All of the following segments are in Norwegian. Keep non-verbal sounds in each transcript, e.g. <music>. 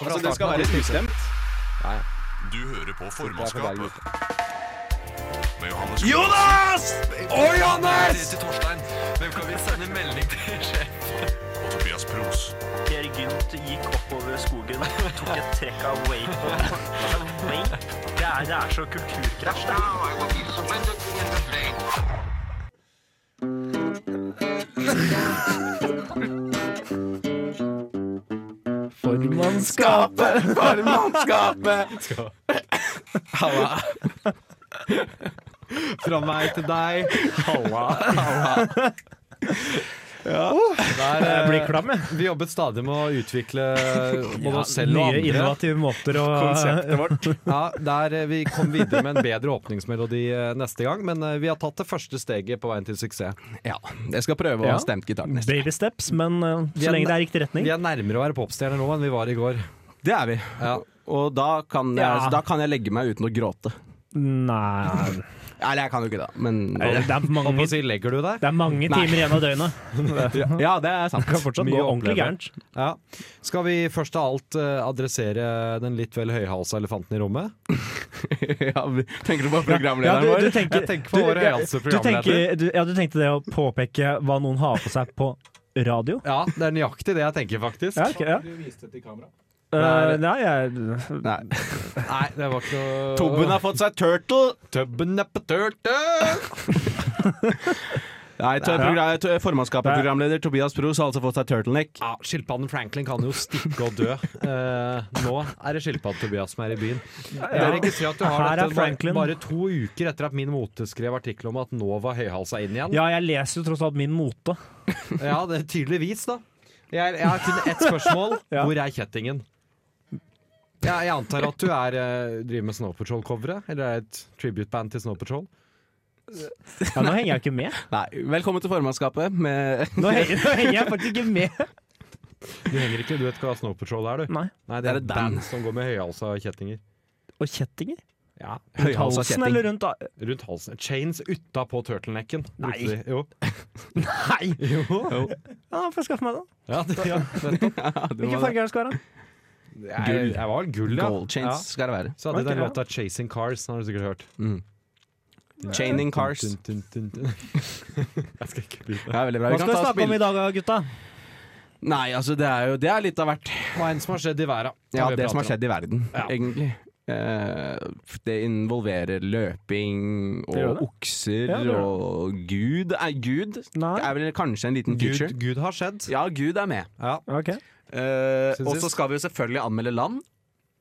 Altså, det skal være ustemt. Du hører på formannskapet. Med Johannes Jonas! Å, Johannes! Til Torstein. Hvem kan vi sende melding til sjef? Og Tobias Pros. Per Gynt gikk oppover skogen, tok et trekk av Wake. Wake? Det er, det er så kulturkrasj, det. Formannskapet! Formannskapet! Halla. <laughs> Fra meg til deg. Halla. Der, Jeg eh, blir klam, jeg. Vi jobbet stadig med å utvikle både oss selv og Nye andre. innovative måter å Konseptet vårt. Ja, der eh, Vi kom videre med en bedre åpningsmelodi eh, neste gang, men eh, vi har tatt det første steget på veien til suksess. Ja, jeg skal prøve å Ja. ha stemt gitar neste. Baby steps, men eh, er så lenge det nær- er i riktig retning. Vi er nærmere å være popstjerner nå enn vi var i går. Det er vi. Ja. Og da kan, jeg, Ja. da kan jeg legge meg uten å gråte. Nei Eller jeg kan jo ikke det, men Det er Holdt på mange, å si, legger du deg? det er mange Nei. timer igjen <laughs> av døgnet. Ja, det er sant. Det kan fortsatt Mye gå å ordentlig oppleve. gærent. Ja. Skal vi først av alt eh, adressere den litt vel høyhalsa elefanten i rommet? <laughs> ja, vi- tenker du på Ja, programlederen du, vår? du tenker, Jeg tenker på vår høyhalse du programleder. tenker, du, ja, du tenkte det å påpeke hva noen har på seg på radio? Ja, det er nøyaktig det jeg tenker, faktisk. Ja, ok, ja. kamera? Eh, nei, jeg Nei. Nei, det var ikke noe Tobben har fått seg turtle! Tubben er på turtle! Nei, to- progra- to- formannskapet programleder Tobias Pros har altså fått seg turtleneck. Ja, Skilpadden Franklin kan jo stikke og dø. Eh, nå er det skilpadden Tobias som er i byen. Jeg registrerer at du har Her er dette bare, Franklin. bare to uker etter at min mote skrev artikkel om at nå var høyhalsa inn igjen. Ja, jeg leser jo tross alt min mote. Ja, det er tydeligvis, da. Jeg, jeg har kun ett spørsmål. Ja. Hvor er kjettingen? Ja, jeg antar at du er, eh, driver med Snow Patrol-coveret? Eller er det et tribute-band til Snow Patrol? Ja, nå henger jeg ikke med. Nei, velkommen til formannskapet med Nå henger, nå henger jeg faktisk ikke med. Du henger ikke, du vet hva Snow Patrol er, du? Nei. Nei, det er et band. band som går med høyhalsa kjettinger. Og kjettinger? Ja, Høyhalsa Halsen kjetting. eller rundt a- rundt halsen. Chains utapå turtlenecken. brukte Nei. de. Jo. Nei! Ja, får jeg skaffe meg det. Ja, det, ja. Ja, du må det. Hvilken farge er det skal være? Jeg, jeg var vel gull, ja. Gold chains Ja. skal det være. Mm. Så hadde de Ok, den ja. låta 'Chasing Cars', den har du sikkert hørt. Chaining cars. Dun, dun, dun, dun. <laughs> Jeg skal ikke begynne. Ja, veldig bra. Hva Vi kan skal vi ta snakke om spill. i dag, gutta? Nei, altså det er jo det er litt av hvert. Hva enn som har skjedd i verden. Ja, kan vi det som prate har om. skjedd i verden, Ja. egentlig. Eh, det involverer løping og Det gjør det. okser Ja, det gjør det. og Gud er Gud. Nei. Er vel kanskje en liten feature. Gud, Gud har skjedd. Ja, Gud er med. Ja. Ok. Eh, Siden og sist. så skal vi jo selvfølgelig anmelde land,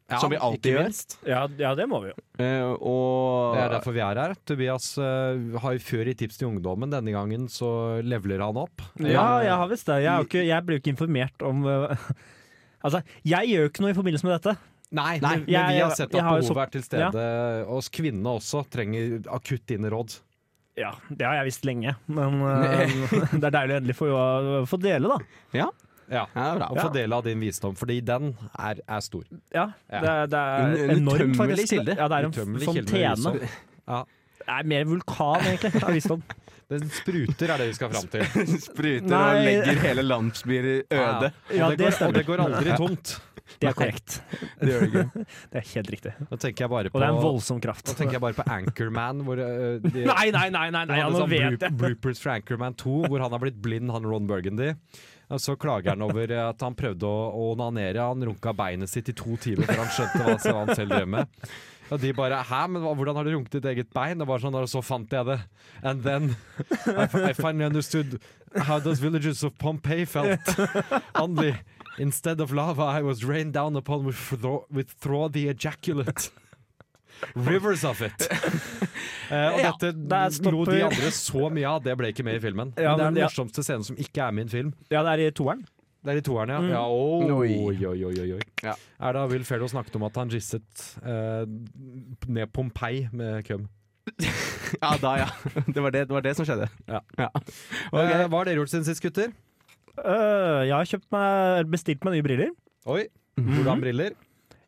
Ja, som vi alltid ikke gjør. minst. Ja, ja, det må vi jo. Eh, og Det er derfor vi er her. Tobias eh, har jo før i Tips til ungdommen. Denne gangen så leveler han opp. Ja, jeg har visst det. Jeg, er jo ikke, jeg blir jo ikke informert om øh, <laughs> Altså, jeg gjør jo ikke noe i forbindelse med dette. Nei, Nei, men jeg- vi har jeg- sett at jeg har jo behovet så- er til stede. Og oss kvinnene også trenger akutt dine råd. Ja, det har jeg visst lenge, <laughs> men øh, det er deilig å endelig få, å få dele, da. Ja, Ja. ja, det er bra. Og få del av din visdom, fordi den er, er stor. Ja, det, er- det En- en er enormt, utømmelig faktisk. kilde. Ja, det er en Utømmelig kilde med fontene. visdom. Ja. Det er mer vulkan, egentlig, av visdom. Den spruter er det vi skal fram til. Spruter og Nei. legger hele landsbyer i <laughs> øde. Ja, og, det det går, og stemmer. det går <laughs> aldri tomt. Det er korrekt. Det gjør det ikke. Det er helt riktig. Da tenker jeg bare på, Og det er en voldsom kraft. da tenker jeg bare på Anchorman. Hvor, eh, de, <laughs> Nei, nei, nei, nei, de nei ja, hadde nå sånn vet jeg! bro- Bloopers fra Anchorman 2, hvor han har blitt blind, han Ron Burgundy. Og så klager han over at han prøvde å, å onanere. Han runka beinet sitt i to timer før han skjønte hva som han selv drev med. Og de bare 'hæ, men hva- hvordan har du runket ditt eget bein?' Og bare sånn, og så fant jeg det. And then I, fi- I finally understood how those villages of Pompeii felt. Only instead of lava I was rained down upon with, thro with throw the ejaculate. Rivers of <laughs> it. Eh, og Ja, der dette stopper- lo de andre så mye av, det ble ikke med i filmen. men, det er Ja, men- den ja. morsomste scenen som ikke er med i en film. Ja, det er i toeren. Det er i toeren, ja. Mm. ja oi, Oi. oi, oi, oi, oi. Ja. Er da Will Ferrell snakket om at han gisset eh, ned Pompeii med køm. Ja, da, ja. <laughs> Det var det, det, var det som skjedde. Ja. Ok. Eh, hva har dere gjort siden sist, gutter? Øh, jeg har kjøpt meg, bestilt meg nye briller. Oi, hvordan briller?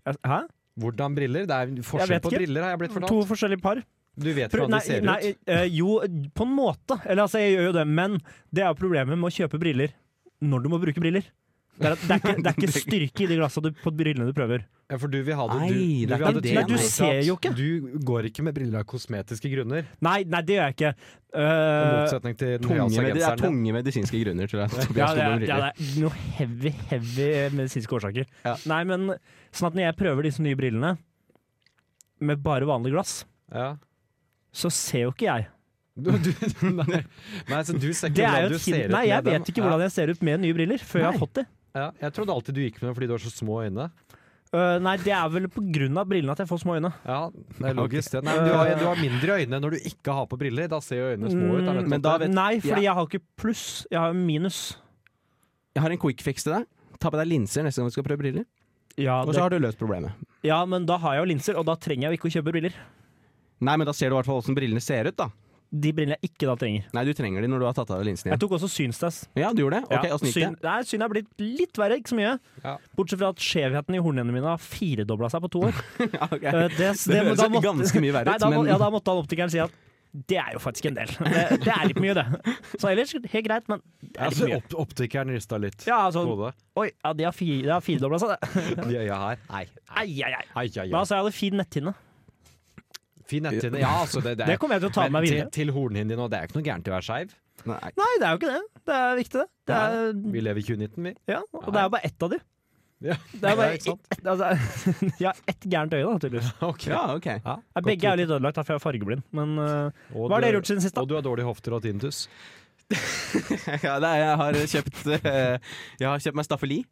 Jeg- Hæ? Hvordan briller? Det er Jeg forskjell vet på ikke. briller, har jeg blitt To fortalt. forskjellige par. Du vet Pro- hvordan de ser nei, ut. eh, jo, på en måte. Eller altså, jeg gjør jo det, men det er jo problemet med å kjøpe briller når du må bruke briller. Det er, at det er, ikke, det <laughs> er ikke styrke i de glassene du, på brillene du prøver. Ja, for du vil ha det Nei, du, det er vil ha ikke det, det til nei. at Du ser jo ikke. Du går ikke med briller av kosmetiske grunner. Nei, nei, det gjør jeg ikke. I Eh, motsetning til den Tunge, med, det er høyhalsagenseren. tunge medisinske grunner til at ja, Tobias det er, Skoglund ja, briller. det er noe heavy, heavy medisinske årsaker. Ja. Nei, men sånn at når jeg prøver disse nye brillene med bare vanlig glass, Ja. så ser jo ikke jeg. Du, du, nei. nei, så du ser ikke Det er hvordan du jo et ser hint. ut Nei, med jeg dem. vet ikke hvordan jeg ser ut med nye briller før jeg Nei. har fått det. ja, ja. Jeg trodde alltid du gikk med dem fordi du har så små øyne. Eh, nei, det er vel på grunn av brillene at jeg får små øyne. Ja, det er logisk. det. Nei, men du, har, du har mindre øyne når du ikke har på briller. Da ser jo øynene små ut. er det Mm, sant? Men da vet- Nei, fordi Ja. jeg har ikke pluss, jeg har minus. Jeg har en quick fix til deg. Ta på deg linser neste gang du skal prøve briller. Ja, Og det, så har du løst problemet. ja, men da har jeg jo linser, og da trenger jeg jo ikke å kjøpe briller. Nei, men da ser du i hvert fall åssen brillene ser ut, da. De brillene jeg ikke da trenger. Nei, du trenger de når du har tatt av deg linsene Jeg igjen. tok også synstest. Ja, du gjorde det? Ok, Ja, åssen gikk det? syn- Nei, synet er blitt litt verre, ikke så mye. Ja. Bortsett fra at skjevheten i hornene mine har firedobla seg på to år. <laughs> Ja, ok. Eh, det, Det men da høres jo måtte- ganske mye verre Nei, ut, da, må- men Ja, da måtte han optikeren si at det er jo faktisk en del. <laughs> Det, det er litt mye, det. Så ellers helt greit, men det er litt altså, mye. opp, optikeren rista litt Ja, på altså, hodet. oi, ja, de har, fi- de har firedobla seg, det. De øya her. Nei. Ai, ai, ai. Ai, ai, Men ai. altså, jeg hadde fin netthinne. Fin netthinne. Ja, altså, det, det Det er kommer jeg til å ta med Men meg til, videre. til hornhinnen din, og det er ikke noe gærent i å være skeiv. <laughs> Nei. Nei, det er jo ikke det. Det er viktig, det. det er, Vi lever i 2019, vi. <laughs> ja, og det er jo bare ett av de. Ja. Det er bare Ja, ikke sant? ett- altså, <laughs> jeg har ett gærent øye, da, tydeligvis. Ja, ok. <laughs> Nei, Begge er jo litt ødelagt, derfor jeg er fargeblind. Men eh, Og hva du- har dere gjort siden sist, da? Og du har dårlige hofter og tinnitus. Ja, det er, jeg har kjøpt eh, Jeg har kjøpt meg staffeli.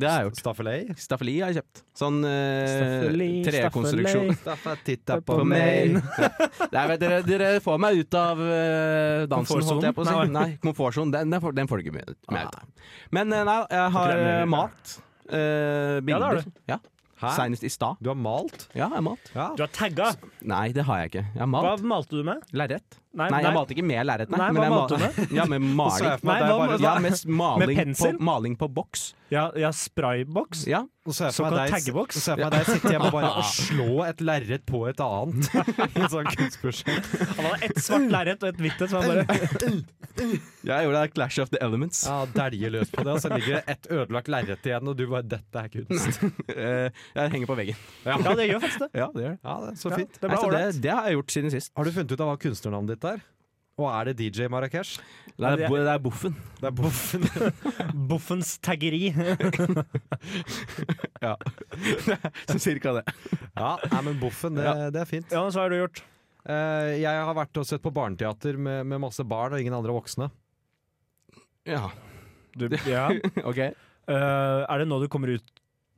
Det har jeg gjort. Staffelei. Staffeli har jeg kjøpt. Sånn eh, Staffeli, trekonstruksjon. Staffetitta på meg. <laughs> Nei, men dere, dere får meg ut av eh, dansen, holdt jeg på å si. Komfortsonen? Nei, komfortsonen. Den, den, får, den får du ikke meg ut meg ut av. Men eh, nei, jeg Får har ikke eh, den med. malt. eh, Ja, det har bilder. du. Ja, Hæ? Senest i stad. Du har malt? Ja, jeg har malt. Ja. Du har tagga! Nei, det har jeg ikke. Jeg har Hva malt malte du med? lerret. Nei, jeg malte ikke med lerret, nei. Nei, hva jeg malte du mal- <laughs> Ja, Så med jeg maling. for meg Nei, deg hva- bare- Ja, med s- maling, på, pensel? maling på boks. Ja, ja sprayboks? Ja, Og så er jeg for meg Såkalt deg- taggeboks? Så er jeg for meg deg sitte hjemme <laughs> bare og slå et lerret på et annet. <laughs> I et sånt kunstprosjekt. Han hadde ett svart lerret og et hvitt et. så han bare- jeg gjorde det Clash of the Elements. <laughs> Ja, Dælje løs på det, og så ligger det et ødelagt lerret igjen, og du bare 'Dette er kunst'. Eh, jeg henger på veggen. <laughs> Ja, det gjør faktisk det. Ja, det gjør det. Ja, det er Så Ja, fint. det er Nei, bra så det, ålreit. det har jeg gjort siden sist. Har du funnet ut av hva kunstnernavnet ditt er? Og er det DJ Marrakech? Det er, det- bo- det er Boffen. Det er Boffen. Boffens taggeri. <laughs> Så cirka det. Ja, nei, men Boffen, det, Ja. det er fint. Ja, men så har du gjort Eh, jeg har vært og sett på barneteater med, med masse barn og ingen andre voksne. Ja, du, ja. <laughs> <laughs> ok. Eh, Er det nå du kommer ut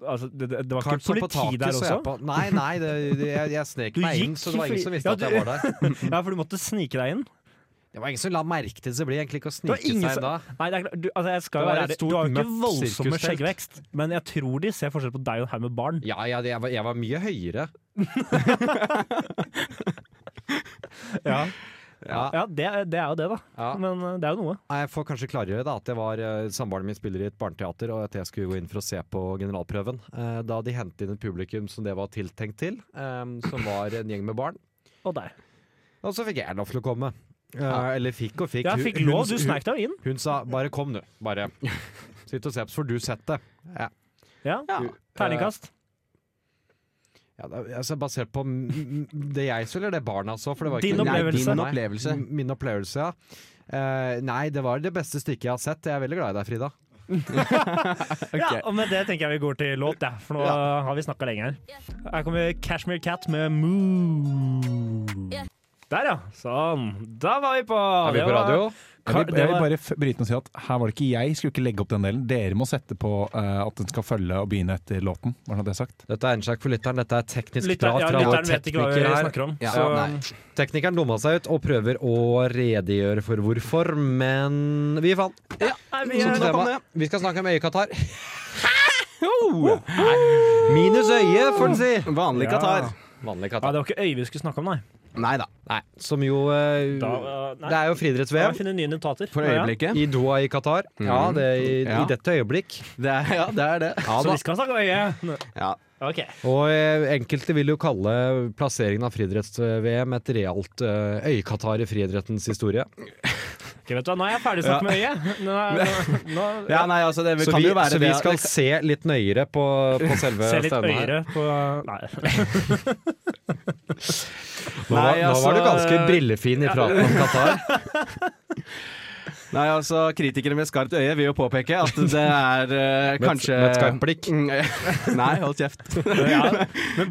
Altså, det, det det var Karl ikke så på politi taket, der så jeg også? På, nei, nei, det, det, jeg, jeg snek Du meg inn, gikk så det var ingen som fordi- visste Ja, at du- jeg var der. <laughs> Ja, for du måtte snike deg inn? Det var ingen som la merke til det, så det blir egentlig ikke å var snike seg ingen inn som- da. Nei, det er klart, du, altså, jeg skal Det jo var være et ærlig, stort, Du har jo ikke mørkt voldsomme sirkustelt. skjeggvekst, men jeg tror de ser forskjell på deg og Herman Barn. Ja, ja, det, jeg, var, jeg var mye høyere. Ja, Ja, ja det, er- det er jo det, da. ja. Men eh, det er jo noe. Nei, Jeg får kanskje klargjøre da at det var eh, samboeren min spiller i et barneteater, og at jeg skulle gå inn for å se på generalprøven. Eh, da de hentet inn et publikum som det var tiltenkt til, eh, som var en gjeng med barn. Og deg. Og så fikk jeg lov til å komme. Eh, Eller fikk og fikk. Ja, Hun- fikk hun- lov, du hun- snek deg jo inn. Hun sa 'bare kom, du'. Bare sitt og se på, så får du sett det. Ja. Ja, Ja. Terningkast. Ja, det, er- altså basert på m- m- det jeg så, eller det barna så. For det var ikke Din Nei, opplevelse. din Nei, opplevelse. M- Min opplevelse, ja. Eh, nei, det var det beste stykket jeg har sett. Jeg er veldig glad i deg, Frida. Ja, og med det tenker jeg vi går til låt, ja, for nå har vi snakka lenge her. Her kommer Cashmere Cat med Moo. Der, ja. Sånn. Da var vi på. Er vi Det på var- radio? Ka- Jeg vil, jeg det vil var- bare f- bryte inn og si at her var det ikke jeg, skulle ikke legge opp den delen. Dere må sette på eh, at den skal følge og begynne etter låten. Var det det jeg sagt? Dette er en sjekk for lytteren. Dette er teknisk Lytteren, prat ja, fra vår lytteren vet ikke hva vi tekniker her. snakker om. Ja, så nei. Teknikeren dumma seg ut og prøver å redegjøre for hvorfor, men vi fant Nei, vi, Sånn er- som nok om tema. Vi skal snakke om øyekatarr. Minus øye, får en si. Vanlig Ja. Qatar. Vanlig ja, katarr. det var ikke øyet vi skulle snakke om, nei. Nei da. Nei, som jo eh, Da, eh, nei. Det er jo Da må vi friidretts-VM finne nye notater. For Ja, ja. øyeblikket. i Doha i Qatar. Ja, det er i, Ja. i dette øyeblikk. Det er, ja, det er det. Ja Så da. vi skal snakke om øyet. Ja. Ok. Og eh, enkelte vil jo kalle plasseringen av friidretts-VM et realt eh, øyekatarr i friidrettens historie. Ok, vet du hva, nå er jeg ferdig snakket med øyet. Nå, <laughs> nå, Ja, nei, altså, det Så kan vi, jo være så vi det at- skal se litt nøyere på, på selve <laughs> Se litt stevnet her. øyere på Nei. Nå var, Nei, nå var du altså, ganske brillefin i praten om <laughs> Qatar. Nei, altså, kritikere med skarpt øye vil jo påpeke at det er Med eh, et- kanskje med et skarpt blikk. Mm, <laughs> nei, hold <laughs> kjeft. Ja, men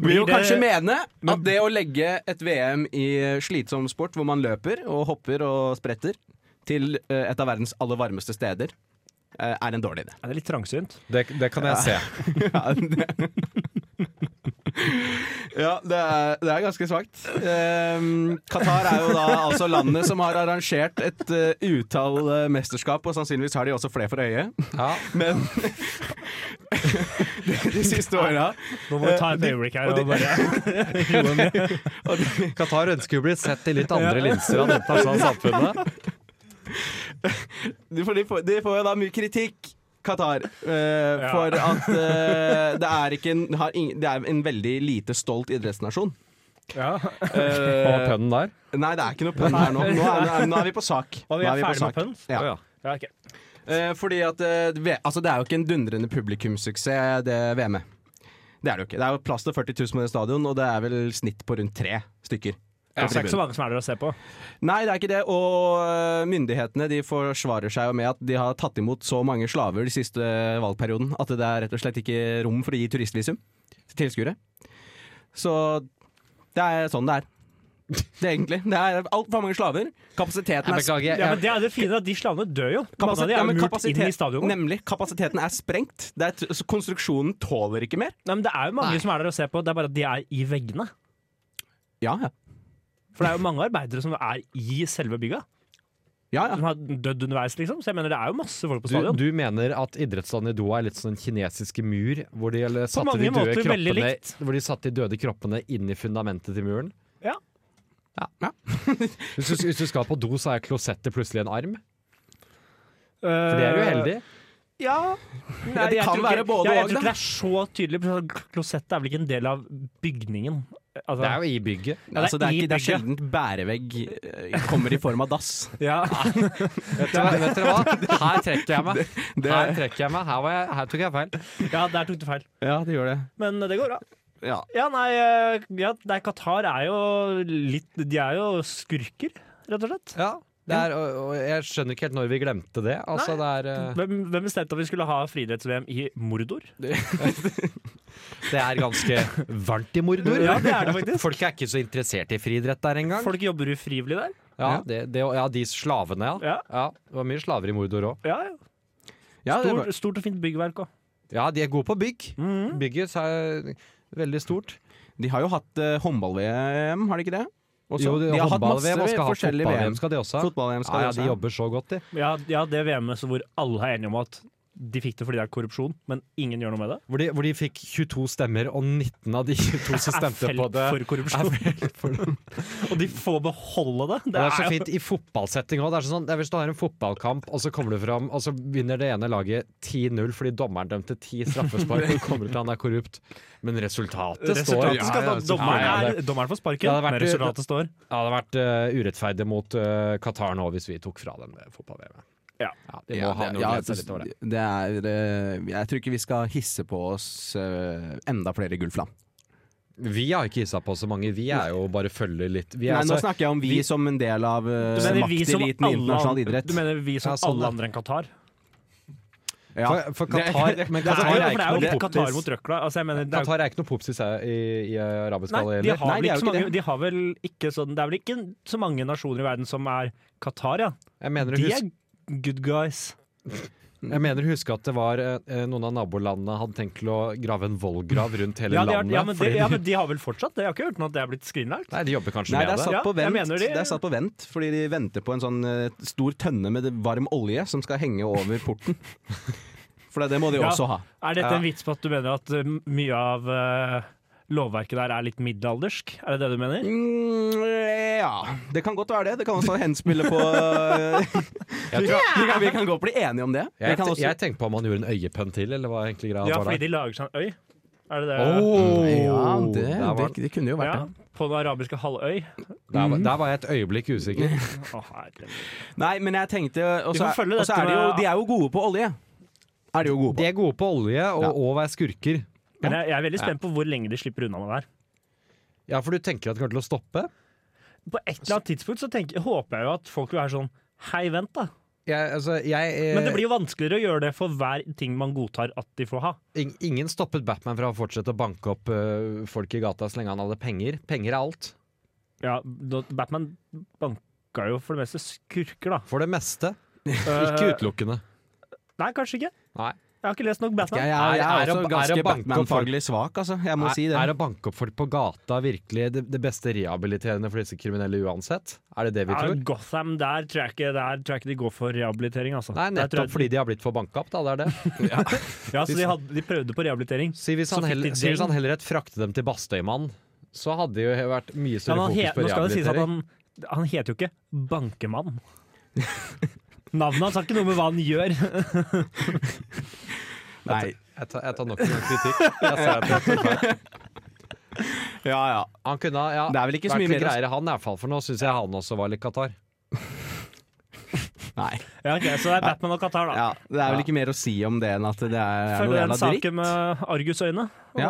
Vil blir jo det kanskje mene at det å legge et VM i eh, slitsom sport hvor man løper og hopper og spretter, til eh, et av verdens aller varmeste steder, eh, er en dårlig idé. Er det litt trangsynt? Det, det kan jeg se. Ja, det, ja, det, er, det er ganske svakt. Ehm, Qatar er jo da altså landet som har arrangert et eh, utall eh, mesterskap, og sannsynligvis har de også flere for øye. Ja. Men <laughs> de siste åra Nå må vi ta et øyeblikk her. Og bare roe ned. Qatar ønsker jo å bli sett i litt andre linser av <laughs> det internasjonale samfunnet. de får, de, får, de får jo da mye kritikk, Qatar, eh, Ja. for at eh, det, er ikke en, har ing, det er en veldig lite stolt idrettsnasjon. Ja. Hva var Eh, pønnen der? nei, det er ikke noe pønn her nå. Nå er, nå er vi på sak. Og vi Nå er på ferdig med sak. pønn? Ja. Å ja. Ja, ok. Eh, fordi at eh, V- altså, Det er jo ikke en dundrende publikumssuksess, det VM-et. Det er det jo ikke. Det er jo plass til 40 000 på det stadion, og det er vel snitt på rundt tre stykker. Det er ikke så mange som er der å se på. Nei, det er ikke det. Og øh, myndighetene de forsvarer seg jo med at de har tatt imot så mange slaver de siste øh, valgperioden at det er rett og slett ikke rom for å gi turistvisum til tilskuere. Så det er sånn det er. Det er egentlig. Det er altfor mange slaver. Kapasiteten er Beklager. Ja, Jeg, men Det er det fine, at de slavene dør jo. Mange kapasi- av de ja, er men jo murt kapasitet- inn i stadionet. Nemlig. Kapasiteten er sprengt. Det er, t- så konstruksjonen tåler ikke mer. Nei, men Det er jo mange som er der å se på, det er bare at de er i veggene. Ja, ja. For det er jo mange arbeidere som er i selve bygga. ja, ja. Som har dødd underveis, liksom. Så jeg mener det er jo masse folk på du, stadion. du mener at idrettslandet i Doha er litt som den kinesiske mur, hvor de, eller, satte, mange de døde måter veldig kroppene, likt. hvor de satte de døde kroppene inn i fundamentet til muren? Ja. Ja. <laughs> hvis, du, hvis du skal på do, så er klosettet plutselig en arm. For det er uheldig. Eh, Ja. Ja, det jeg kan tror være ikke- både ja, Jeg og, tror ikke da. det er så tydelig. for Klosettet er vel ikke en del av bygningen. Altså, Det er jo i bygget. det er Altså, det, er i ikke, det er bygget. sjelden bærevegg øh, kommer i form av dass. ja. <laughs> <laughs> Vet dere, vet dere hva? Her trekker jeg meg. Her trekker jeg meg. Her, var jeg, her tok jeg feil. ja, der tok du feil. <laughs> Ja, det gjør det. Men det går bra. Ja. Ja, nei, eh, ja, nei Qatar er jo litt De er jo skurker, rett og slett. Ja, det er, og, og jeg skjønner ikke helt når vi glemte det. Altså, det, er, Hvem, hvem bestemte at vi skulle ha friidretts-VM i Mordor? eh, det er ganske varmt i Mordor. Ja, det er det <laughs> faktisk. Folk er ikke så interessert i friidrett der engang. Folk jobber ufrivillig der. Ja, det, det, ja, de slavene, ja. Ja. Det var mye slaver i Mordor òg. Ja, ja. Ja, det var- Stort, stort og fint byggverk Mhm. òg. Ja, de er gode på bygg. Bygget så er veldig stort. De har jo hatt eh, håndball-VM, har de ikke det? Også? Jo, de, har hatt håndball-VM og masse skal ha forskjellige fotball-VM, skal de også ha. Fotball-VM skal ja, de ja, også de ha. jobber så godt, de. Ja, ja, det VM-et hvor alle er enige om at de fikk det fordi det er korrupsjon, men ingen gjør noe med det. Hvor de, hvor de fikk 22 stemmer, og 19 av de 22 <laughs> som er stemte felt på det. for <laughs> korrupsjon. og de får beholde det. Det er så jo- fint i fotballsetting òg. Det er sånn, det er hvis du har en fotballkamp, og så kommer du fram, og så vinner det ene laget 10-0 fordi dommeren dømte ti straffespark, og kommer til han er korrupt. Men resultatet, står. Resultatet skal Ja, ja, da dommeren, ja, ja, er, dommeren får sparken, Det hadde vært- men resultatet står. Det hadde vært eh, urettferdig mot eh, Qatar nå hvis vi tok fra dem eh, fotball-VM. Ja. de må Ja, ha det- noe å ja, glede seg litt over det. det er eh, Jeg tror ikke vi skal hisse på oss eh, enda flere gullflam. Vi har ikke hissa på så mange. Vi er jo bare følger litt. Vi er, Nei, nå altså, snakker jeg om vi, vi- som en del av eh, Du mener vi som makteliten i alle internasjonal andre- idrett. Du mener vi som Ja, sånn, alle ja. andre enn Qatar? ja. for, for Qatar, men Det er, Qatar jo, er for det ikke er jo noe litt Qatar poptis. mot røkla. Altså, jeg mener, det er jo, Qatar er ikke noe popsis her i, i arabisk nei, halvøy de, heller. har Nei, vel det er jo ikke så ikke mange, de har vel ikke sånn Det er vel ikke så mange nasjoner i verden som er Qatar, ja. Jeg mener å De huske- er good guys. Mm. Jeg mener å huske at det var eh, noen av nabolandene hadde tenkt til å grave en vollgrav rundt hele Ja, de, er, landet. ja, men de, fordi- ja, men de har vel fortsatt det? Jeg har ikke hørt noe at det er blitt skrinlagt. <laughs> Nei, de jobber kanskje Nei, det med er det. satt, Ja, på jeg vent. mener det de- er satt på vent, fordi de venter på en sånn eh, stor tønne med varm olje som skal henge over porten. For det, det må de Ja. også ha. Er dette en vits på at du mener at uh, mye av uh, lovverket der er litt middelaldersk? Er det det du mener? Mm, ja, det kan godt være det. Det kan også henspille på eh, <laughs> vi, kan, vi kan godt bli enige om det. Vi Jeg, kan også, jeg tenkte på om han gjorde en øyepønn til, eller hva er egentlig greia Ja, var fordi der. de lager seg en øy. Er det det? Oh, Ja, det, der, var, det, den. det kunne jo ja, vært det. på den arabiske halvøy. der, var, der var jeg et øyeblikk usikker. <laughs> Å, herre. Nei, men jeg tenkte eh, Og Vi så får er, følge og så dette er de jo med- De er jo gode på olje. Er de jo gode De på. er gode på olje og, Ja. og være skurker. Men jeg, jeg er veldig spent på hvor lenge de slipper unna med det her. Ja, for du tenker at det kommer til å stoppe? På et eller annet tidspunkt så tenker, håper jeg jo at folk vil være sånn Hei, vent, da. Jeg, altså, jeg, eh, Men det blir jo vanskeligere å gjøre det for hver ting man godtar at de får ha. ing- Ingen stoppet Batman fra å fortsette å banke opp eh, folk i gata så lenge han hadde penger. Penger er alt. Ja, da- Batman banka jo for det meste skurker, da. For det meste. Eh, <laughs> Ikke utelukkende. Nei, kanskje ikke. Nei. Jeg har ikke lest nok Jeg, Batman. jeg, Er- jeg er er å- er også å ganske banke opp Batman-faglig svak, altså. Jeg må Er, si det. er å banke opp folk på gata virkelig det, det beste rehabiliterende for disse kriminelle uansett? Er det det vi Ja, tror? Gotham, der tror, jeg ikke, der tror jeg ikke de går for rehabilitering, altså. Nei, Der tror nettopp fordi de har blitt for banka opp, da. Det er det. jeg, ja, så de, hadde, de prøvde på rehabilitering. Si hvis <laughs> Så han, fikk de heller, si hvis den. han heller rett frakte dem til Bastøymann, så hadde det jo vært mye Ja, men større han he, fokus på nå skal det sies at rehabilitering. han, han heter jo ikke Bankemann. <laughs> Navnet hans har ikke noe med hva han gjør. Nei. Jeg tar, jeg tar nok en gang kritikk. <laughs> Jeg ser at jeg tar feil. Ja, ja. han kunne ha- ja, Det er vel ikke så vært mye litt mer å- greiere, han i hvert fall. For nå syns jeg han også var litt Qatar. Nei. Ja, ok, Så det er Batman og Qatar, da. Ja, det er vel ikke mer å si om det enn at det er, er noe Følg den jævla dritt. saken med Argus-øyne. Og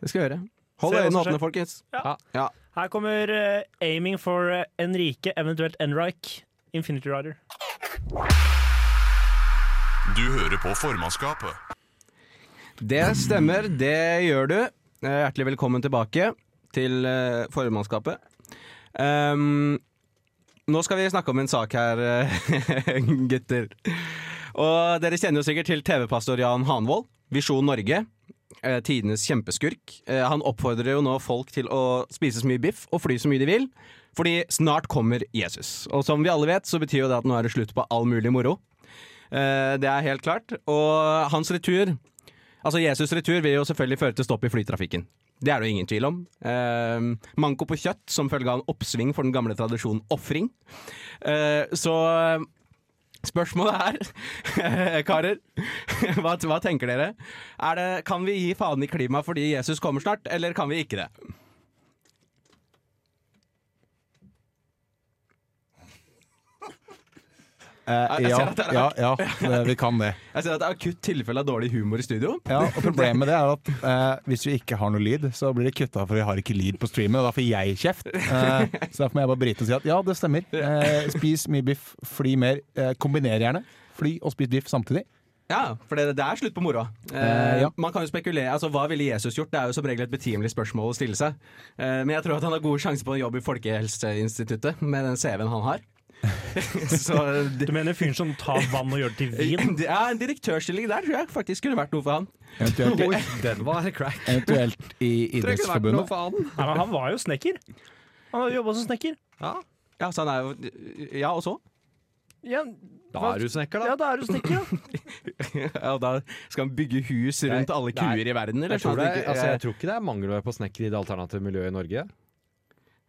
Det skal jeg gjøre. Se Hold hva som øynene skjer. åpne, folkens. Ja. Ja. her kommer eh, 'Aiming for eh, Enrique', eventuelt Enrike, Infinity Rider. Du hører på formannskapet. Det stemmer, det gjør du. Eh, Hjertelig velkommen tilbake til eh, formannskapet. Ehm, nå skal vi snakke om en sak her, eh, <laughs> gutter. Og dere kjenner jo sikkert til TV-pastor Jan Hanvold, Visjon Norge. eh, Tidenes kjempeskurk. Eh, Han oppfordrer jo nå folk til å spise så mye biff og fly så mye de vil, fordi snart kommer Jesus. Og som vi alle vet, så betyr jo det at nå er det slutt på all mulig moro. Eh, Det er helt klart. Og hans retur Altså, Jesus' retur vil jo selvfølgelig føre til stopp i flytrafikken. Det er det jo ingen tvil om. Eh, manko på kjøtt som følge av en oppsving for den gamle tradisjonen ofring. Eh, så eh, spørsmålet er, <laughs> karer, hva, hva tenker dere? Er det, kan vi gi faen i klimaet fordi Jesus kommer snart, eller kan vi ikke det? Eh, Jeg ja, ser at det er- ja, ja, det- vi kan det. Jeg ser at det er akutt tilfelle av dårlig humor i studio. <laughs> Ja, og Problemet med det er at eh, hvis vi ikke har noe lyd, så blir det kutta for vi har ikke lyd på streamen, og da får jeg kjeft. Eh, så derfor må jeg bare bryte og si at ja, det stemmer. Eh, spis mye biff, fly mer. Eh, kombiner gjerne. Fly og spis biff samtidig. Ja, for det, det er slutt på moroa. Eh, Eh, ja. Man kan jo spekulere, altså Hva ville Jesus gjort? Det er jo som regel et betimelig spørsmål å stille seg. Eh, men jeg tror at han har gode sjanser på en jobb i Folkehelseinstituttet med den CV-en han har. <laughs> <laughs> Så det, Du mener fyren som tar vann og gjør det til <laughs> vin? det er en direktørstilling der tror jeg faktisk kunne vært noe for han. Eventuelt, Oi, den var crack. eventuelt i Det kunne vært noe Idrettsforbundet. for han. Nei, men han var jo snekker. Han har jobba som snekker. Ja, Ja, så han er jo eh, Ja, <laughs> og så? Ja, da er du snekker, ja, da. da er du snekker, ja. Ja, og da skal han bygge hus rundt Nei, alle nei. kuer i verden, eller? Jeg tror, det, sånn at det ikke- altså, jeg tror ikke det er mangel på snekkere i det alternative miljøet i Norge.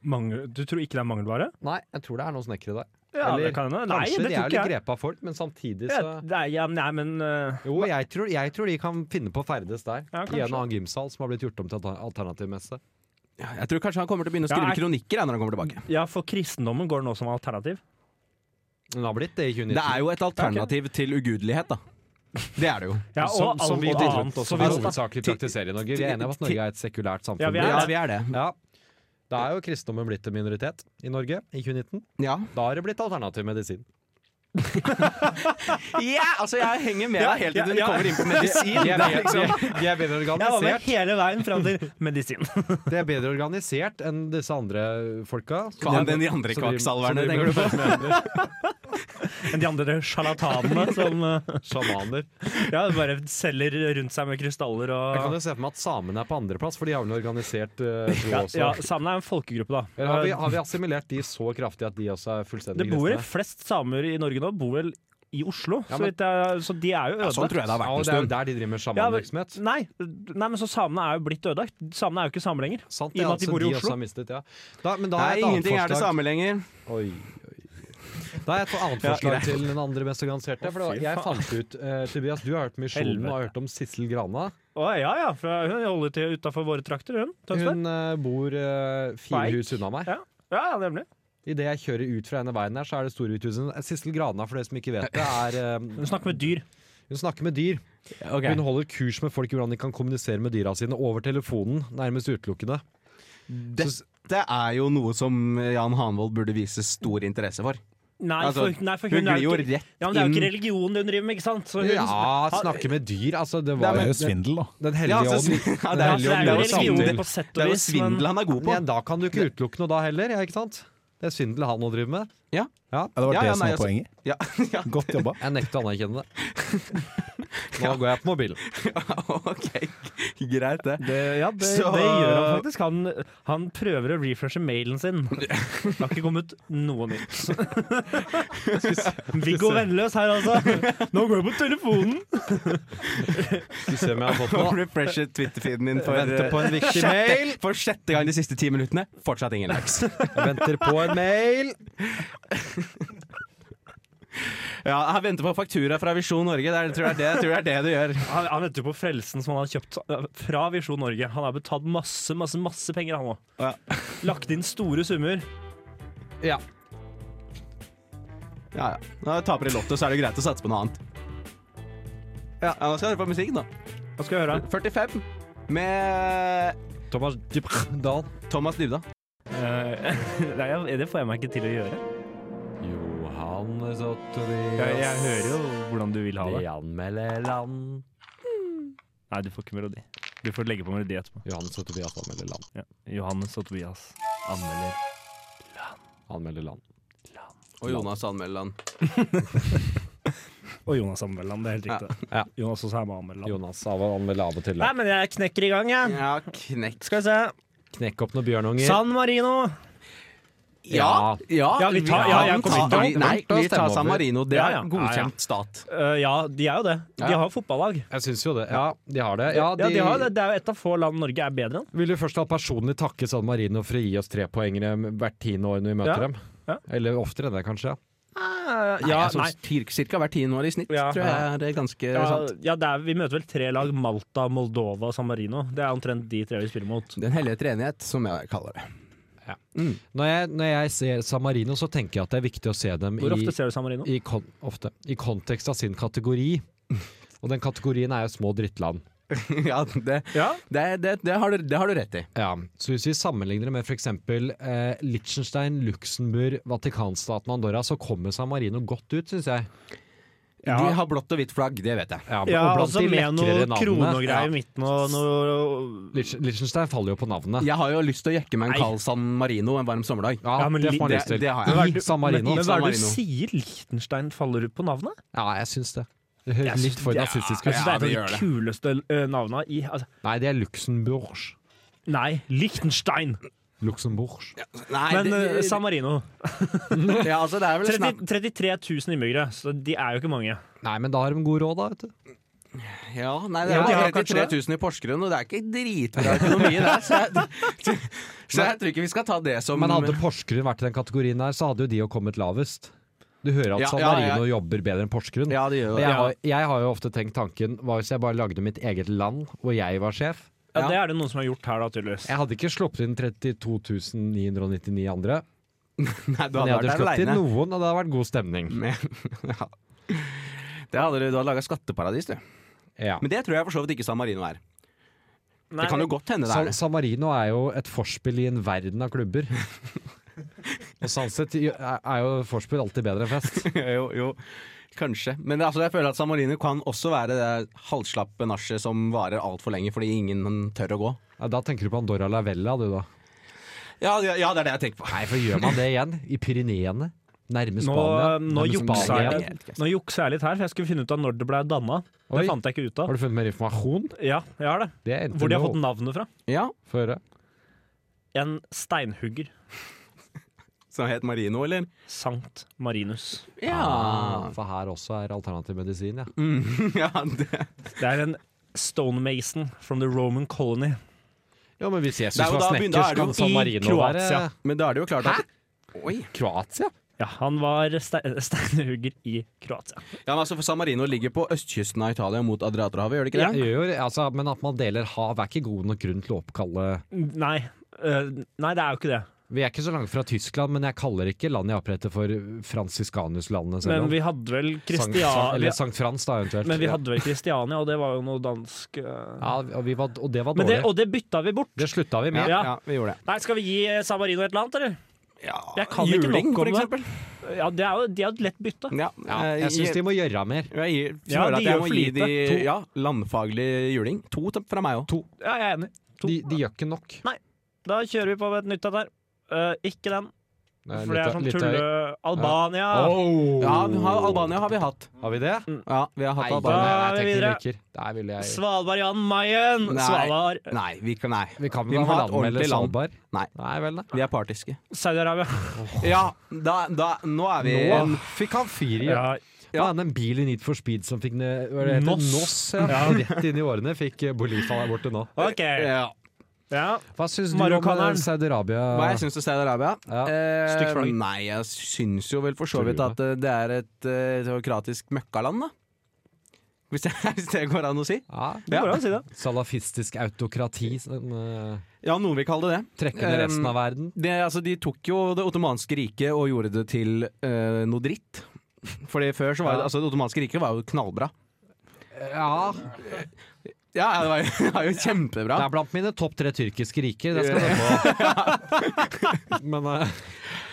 Mangel, du tror ikke det er mangelvare? Nei, jeg tror det er noen snekkere der. Ja, Eller det kan hende. Nei, Kanskje det de tror er litt ikke jeg. grepa av folk, men samtidig Ja, så nei, ja, nei, men eh, Jo, jeg tror, jeg tror de kan finne på å ferdes der. I Ja, en kanskje. og annen gymsal som har blitt gjort om til alter- alternativmesse. eh, Ja, jeg tror kanskje han kommer til å begynne å skrive Ja, jeg- kronikker ja, når han kommer tilbake. Ja, for kristendommen går nå som alternativ. Men det har blitt det i 2019. Det er jo et alternativ til ugudelighet, da. Det er det jo. Ja, og som, som vi alt rundt annet. også som vi også- hovedsakelig praktiserer i Norge. Vi er enige om at Norge er et sekulært samfunn. Ja, vi er Ja, det. vi er det. Ja. Da er jo kristendommen blitt en minoritet i Norge i 2019. Ja. Da har det blitt alternativ medisin. Ja, altså jeg henger med Ja, deg helt til ja, du ja. kommer inn på medisin. De er, Det er bedre- de liksom, er- de er bedre Jeg var med organisert hele veien fram til <laughs> medisin. De er bedre organisert enn disse andre folka. Så Faen, de er- den de andre så driver- kvakksalverne, så tenker driver du på? Men de andre sjarlatanene som eh, Sjamaner. ja, bare selger rundt seg med krystaller Jeg kan og jo se for meg at samene er på andreplass, for de har vel organisert eh, tro <laughs> ja, også. ja, Samene er en folkegruppe, da. Eh, Eller har vi, har vi assimilert de så kraftig at de også er Det fullstendig bor kristne? flest samer i Norge nå, bor vel i Oslo, Ja, så, men- vidt jeg, så de er jo ødelagt. sånn tror jeg det har Ja, vært og en det er jo stund. der de driver med Ja, men- sjamanvirksomhet. Nei, nei, men så samene er jo blitt ødelagt. Samene er jo ikke samer lenger. Sant, altså, I og med at de bor i også Oslo. har mistet, ja. da, men da Nei, har jeg et annet ingenting er det forslag. samme lenger. Oi, oi, oi. Da har jeg et annet forslag til den andre mest organiserte. For det var, jeg fant ut eh, Tobias, du har hørt om Misjonen og har hørt om Sissel Grana. Å, ja, ja. For hun holder til utafor våre trakter, hun. Tønsberg. Hun eh, bor eh, fire Eik. hus unna meg. Ja. ja, ja, nemlig. Idet jeg kjører ut fra ene veien her, så er det Storuthuset. Sissel Grana, for dere som ikke vet det, er eh, Hun snakker med dyr. Hun snakker med dyr. Ok. Hun holder kurs med folk i hvordan de kan kommunisere med dyra sine over telefonen, nærmest utelukkende. Så- Dette er jo noe som Jan Hanvold burde vise stor interesse for. Nei, Altså, for, nei, for Hun hun, er glir jo jo ikke, rett ja, men det er jo ikke inn religion hun driver med, ikke sant? Så hun, Ja, snakke med dyr, altså. Det var Det er jo den, svindel, da. den Ja, hellige altså, ånd. ja, Den det er hellige ånd altså, det er driver jo religion samtidig. på sett Det og er jo vis, men svindel han er god på. Ja, da kan du ikke utelukke noe da heller, ja, ikke sant? Det er svindel han nå driver med. Ja. Ja, det var Ja, ja, det som nei, var altså- poenget. Ja, <laughs> ja, Godt jobba. Jeg nekter å anerkjenne det. <laughs> Nå går jeg på mobilen. ok. Greit, det. det, ja, det, Så- det gjør han faktisk. Han, han prøver å refreshe mailen sin. <laughs> Det har ikke kommet noe <laughs> nytt. Viggo Vennløs her, altså. Nå går jeg på telefonen! Skal vi se om jeg har fått <laughs> noe. Refreshe Twitter-feeden din for, Venter på en viktig mail. sjette, for sjette gang de siste ti minuttene. Fortsatt ingen likes. Jeg venter på en mail. Ja, jeg venter på faktura fra Visjon Norge. Det er, tror jeg, det, jeg tror det er det du gjør. Han, han venter jo på frelsen som han har kjøpt eh, fra Visjon Norge. Han har betalt masse, masse, masse penger, han òg. Ja. Lagt inn store summer. Ja. Ja, ja. Når du taper i Lotto, så er det greit å satse på noe annet. Ja, ja Nå skal dere få musikk, da. Hva skal jeg høre? 45 med Thomas Dybdahl. Thomas Dybda. Eh, <laughs> Nei, jeg- det får jeg meg ikke til å gjøre. Johannes og Jeg, jeg Tobias. hører jo hvordan du vil ha De det. anmelder land. Nei, du får ikke melodi. Du får legge på melodi etterpå. Johannes og Tobias anmelder land. Ja. Johannes og Tobias anmelder. Anmelder land. Og Jonas Anmelland. Og Jonas anmelder han, det er helt riktig. Ja. Jonas også er med og anmelder han. Jonas av- anmelder av og til. Nei, men jeg knekker i gang, jeg. Ja, knekt. Skal vi se. Knekk opp noen bjørnunger. San Marino. Ja. Ja, vi tar- ja, jeg kommer ikke til å- vi- Nei, vi tar stemme San over. Marino. Det Ja, er ja. Ja, ja. godkjent stat. Eh, ja, de er jo det. De Ja. har jo fotballag. Jeg syns jo det. Ja, de har det. Ja, Ja, de, de har jo det. det er jo et av få land Norge er bedre enn. Vil du først ha personlig takke San Marino for å gi oss trepoengere hvert tiende år når vi møter Ja. dem? Ja. Eller oftere enn det, kanskje. Eh, Nei, Ja, ja, sånn nei. cir- Cirka hvert tiende år i snitt, Ja. tror jeg det er ganske Ja, sant. ja, det er, vi møter vel tre lag. Malta, Moldova og San Marino. Det er omtrent de tre vi spiller mot. Den hellige treenighet, som jeg kaller det. Når jeg, når jeg ser San Marino, så tenker jeg at det er viktig å se dem Hvor i, ofte ser du San Marino? i, kon, ofte, i kontekst av sin <laughs> kategori. Og den kategorien er jo små drittland. <laughs> ja, det, Ja, det, det, det, har du, det har du rett i. Ja, så Hvis vi sammenligner det med f.eks. Eh, Liechtenstein, Luxembourg, Vatikanstaten og Andorra, så kommer San Marino godt ut, syns jeg. Ja. De har blått og hvitt flagg, det vet jeg. Ja, ja og blant altså også de med lekrere noe krone og greier i Ja. midten og noe Lich- Liechtenstein faller jo på navnet. <laughs> Jeg har jo lyst til å jekke meg Nei. en kald San Marino en varm sommerdag. Ja, Ja, men det får man det- lyst til. det har jeg. I San Marino. Men hva er det du San Marino. sier? Liechtenstein faller ut på navnet? Ja, jeg syns det. Det høres synes litt for det- nazistisk ut. Jeg synes det er et av de kuleste ø, navnene i altså, Nei, det er Luxembourg. Nei, Liechtenstein! Luxembourg. Nei, Men det, ø, San Marino. <laughs> ja, altså, det er vel snakk 30, 33 000 innbyggere, så de er jo ikke mange. Nei, men da har de god råd, da. vet du Ja, nei, det Ja, er de ja, har kanskje 33 000 i Porsgrunn, og det er ikke dritbra økonomi der. Så jeg, så jeg tror ikke vi skal ta det som Men hadde Porsgrunn vært i den kategorien der, så hadde jo de jo kommet lavest. Du hører at Ja, San ja, ja. Marino jobber bedre enn Porsgrunn. Ja, det gjør Og jo det. Jeg har, jeg har jo ofte tenkt tanken Hva hvis jeg bare lagde mitt eget land, og jeg var sjef? Ja, Ja. Det er det noen som har gjort her, da, tydeligvis. Jeg hadde ikke sluppet inn 32.999 andre, Nei, du men jeg hadde hadde vært sluppet inn aleine. noen, og det hadde vært god stemning. Ja. Det hadde du, du hadde laga skatteparadis, du. Ja. Men det tror jeg for så vidt ikke San Marino er. Nei, det kan jo godt hende det San, er det. San Marino er jo et forspill i en verden av <laughs> klubber. Og sånn sett er- er jo forspill alltid bedre enn fest. <laughs> jo, jo, kanskje. Men det, altså, jeg føler at San Marino kan også være det halvslappe nachet som varer altfor lenge fordi ingen tør å gå. Ja, Da tenker du på Andorra la Vella, du da. Ja, ja, ja, det er det jeg tenker på. Nei, for gjør man det igjen? I Pyreneene? Nærme nå, eh, Spania? nå, Nærme juksa Spania igjen. jeg, nå juksa jeg litt her, for jeg skulle finne ut av når det ble danna. Det Oi. fant jeg ikke ut av. Har du funnet mer informasjon? Ja, jeg har det. Det er enten Hvor de har fått nå. navnet fra. Ja, Få høre. En steinhugger. Som het Marino, eller? Sankt Marinus. Ah, for her også er alternativ medisin, ja. Mm, <laughs> ja det. Det er en stonemason from the Roman colony. Jo, men hvis Jesus Det er jo var da snekker, begynner- da er så det jo kan San i Marino være Kroatia. Men da er det jo klart at Oi, Kroatia? Ja, han var ste steinhugger i Kroatia. Ja, men altså for San Marino ligger på østkysten av Italia mot Adriaterhavet, gjør det ikke det? Det gjør, altså, men at man deler hav er ikke god nok grunn til å oppkalle Nei, eh, nei, det er jo ikke det. Vi er ikke så langt fra Tyskland, men jeg kaller ikke landet jeg opprettet for Franciscanus-landet. selv Men om- vi hadde vel Sankt, San- eller Kristiania Sankt Frans, da, eventuelt. Men vi hadde vel Kristiania, og det var jo noe dansk eh. ja, og, vi var, og det var Men dårlig. det, Det, Og det bytta vi bort. slutta vi med. Ja. vi gjorde det. Nei, skal vi gi eh, San Marino et eller annet, eller? Ja, Jeg kan ikke juling, nok om for det. eksempel. Ja, det er jo, de er jo et lett bytte. Ja, Ja, eh, jeg syns de må gjøre mer. jeg gir- Ja, føler de at jeg gjør må for gi lite. de To. ja, landfaglig juling. To t- fra meg òg. Ja, jeg er enig. To. De, de gjør ikke nok. Da kjører vi på med et nytt et her. Eh, ikke den, Nei, for det er litt- litt- sånn tulle... Albania! Oh. Ja, vi har, Albania har vi hatt. Har vi det? Ja, vi har hatt Nei, Albania. Mm. da er jeg vi videre. tekniker. Der ville jeg Svalbard Jan Mayen! Nei. Svalbard Nei, vi kan Nei. Vi kan Vi vel må ha et anmelde ordentlig land. Svalbard? Nei. vel, da. Vi er partiske. Saudi-Arabia. Ja, da, da Nå er vi Nå fikk han fire i Ja. Ja, den bilen i Need for Speed som fikk ned hva er det heter? Nos. Nos ja. Ja. Rett inn i årene fikk eh, Bolifa der borte nå. OK. ja. Ja. Hva syns du om eh, Marokkaneren. Saudi-Arabia? Hva jeg syns om Saudi-Arabia? Ja. Eh, Stygt flagg. nei, jeg syns jo vel for så Tror vidt du at eh, det er et eh, teokratisk møkkaland, da. Hvis det, <laughs> hvis det går an å si. Ja, Det går an å si det. salafistisk autokrati som eh, Ja, noen vil kalle det det. trekker ned resten Um, av verden. det altså, de tok jo Det ottomanske riket og gjorde det til eh, noe dritt. Fordi før så var det, altså, det ottomanske riket var jo knallbra. Ja, Ja, det var jo, <laughs> det var jo kjempebra. det er blant mine topp tre tyrkiske riker, det skal du få. <laughs> Men eh,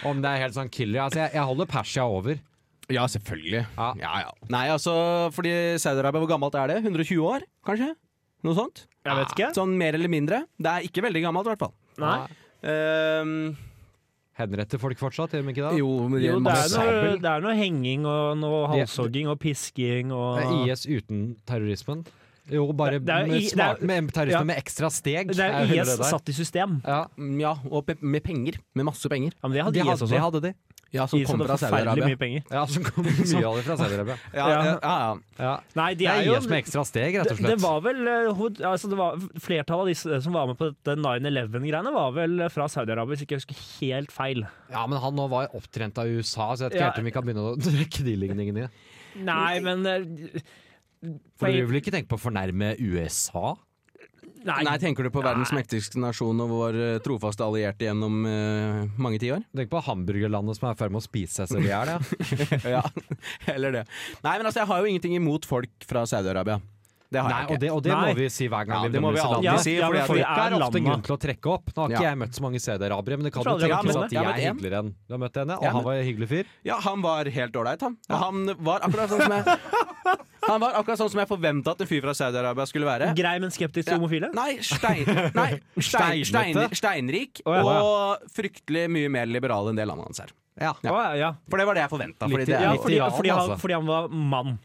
om det er helt sånn killer altså, jeg, jeg holder Persia over. Ja, selvfølgelig. Ja. Ja, ja. Nei, altså, fordi Saudi-Arabia, hvor gammelt er det? 120 år, kanskje? Noe sånt? Jeg vet ikke. Sånn mer eller mindre. Det er ikke veldig gammelt, i hvert fall. Nei. Ehm, Henretter folk fortsatt, gjør de ikke det? jo, men de Jo, det er, masse- noe, det er noe henging og noe Det- halshogging og pisking og Er IS uten terrorismen? Jo, bare Det- det er jo med, I- det er- smart, med terrorisme ja. med ekstra steg. Det er jo er jo det IS der. satt i system. Ja, Mm, Ja, og pe med penger. Med masse penger. Ja, men de det hadde IS hadde, også. det hadde de. Ja, som IS kom hadde fra forferdelig Saudi-Arabia. mye penger. Ja, som <laughs> kom mye av det fra Saudi-Arabia. Ja, Ja. ja, ja, ja. Ja. Nei, de Det er er jo IS med ekstra steg, rett det, og det slett. var vel eh, hod, altså det var, Flertallet av disse som var med på dette 9-11-greiene, var vel fra Saudi-Arabia, hvis ikke jeg husker helt feil. Ja, men han nå var opptrent av USA, så jeg vet ikke Ja. helt om vi kan begynne å <laughs> trekke de ligningene. Nei, men eh, For du vil ikke tenke på å fornærme USA? Nei, Nei, tenker du på verdens Nei. mektigste nasjon og vår eh, trofaste allierte gjennom eh, mange <laughs> tiår? Tenk på hamburgerlandet som er i ferd med å spise seg selv i hjel. ja. Ja, eller det. Nei, men altså, jeg har jo ingenting imot folk fra Saudi-Arabia. Det har Nei, jeg Og ikke. det, og det Nei. må vi si hver gang Ja, vi det må nevner vi disse alltid landene. si, Ja, fordi men at folk det er er, ofte landene. grunn til å trekke opp. Nå har ikke Ja. jeg møtt så mange saudi-arabere, men det kan jo Jeg tror aldri jeg har tenkes at møtt en. Jeg jeg har er møtt en. hyggeligere enn Du har møtt en, ja? Ja, Og han men- var en hyggelig fyr? Ja, han var helt ålreit, han. Og han var akkurat sånn som <laughs> jeg Han var akkurat sånn som jeg forventa at en fyr fra Saudi-Arabia skulle være. Grei, men skeptisk til Ja. homofile? Nei, stein, nei stein, stein, Steinete. steinrik Å, ja. og fryktelig mye mer liberal enn det landet hans er. Å, Ja. ja. For det var det jeg forventa. Litt- Fordi, det er- ja litt fordi, i rad, fordi, han, altså. fordi han var mann.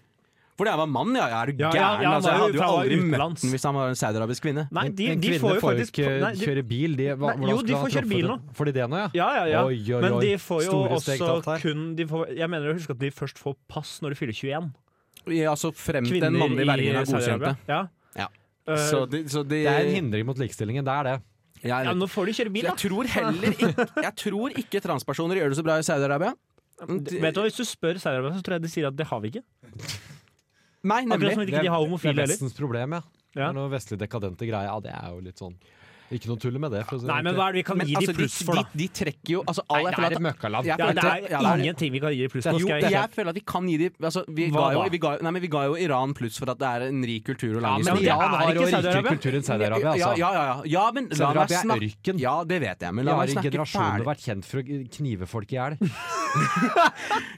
fordi jeg var mann, ja. Jeg er du Ja, ja, gæren. ja, han altså, jeg var jo- hadde jo han var aldri møtt utenlands. den hvis han var en saudiarabisk kvinne. Nei, de, Men de kvinner får jo faktisk ikke nei, de, kjøre bil. De, hva, Nei, hvordan jo, de skulle han får kjøre truffet bil det? Fordi det nå, ja? Ja, ja, ja. Oi, oi, Men oi. de får jo Store steg også tatt her. kun de får, Jeg mener å huske at de først får pass når de fyller 21. Ja, så fremt Kvinner den mannlige vergen i er godkjent. Saudi-Arabia. Ja. Ja. Eh, Så de, så de, Det er en hindring mot likestillingen, det er det. jeg, ja, nå får de kjøre bil, jeg da. tror heller ikke, jeg tror ikke transpersoner gjør det så bra i Saudi-Arabia. de- Vet du, hva, Hvis du spør Saudi-Arabia, så tror jeg de sier at det har vi ikke. Nei, Akkurat nemlig. som ikke de har Det er homofile heller. Vestens problem, ja. Det Ja. er noe vestlig dekadente greier. Ja, det er jo litt sånn Ikke noe tull med det. For å si det Nei, men ordentlig. hva er det vi kan Men gi altså, de pluss for, da? de, de trekker jo altså, all Nei, det erfaring- er et møkkaland. Jeg Ja, det følte- er ja, det er det. ingenting vi kan gi de pluss for. Jo, Skal jeg, jeg føler at vi kan gi de altså, vi, ga Hva jo, da? vi, ga, nei, men vi ga jo Iran pluss for at det er en rik kultur og lang Ja, men Liksom, historie. det Iran er har ikke jo rikere Saudi-Arabia. kultur enn Saudi-Arabia, ja, altså. ja, ja, ja. ja, men la meg Saudi-Arabia er snakke ørken. Ja, det vet jeg, men De la har meg i snakke generasjoner ferdig. vært kjent for å knive folk i hjel.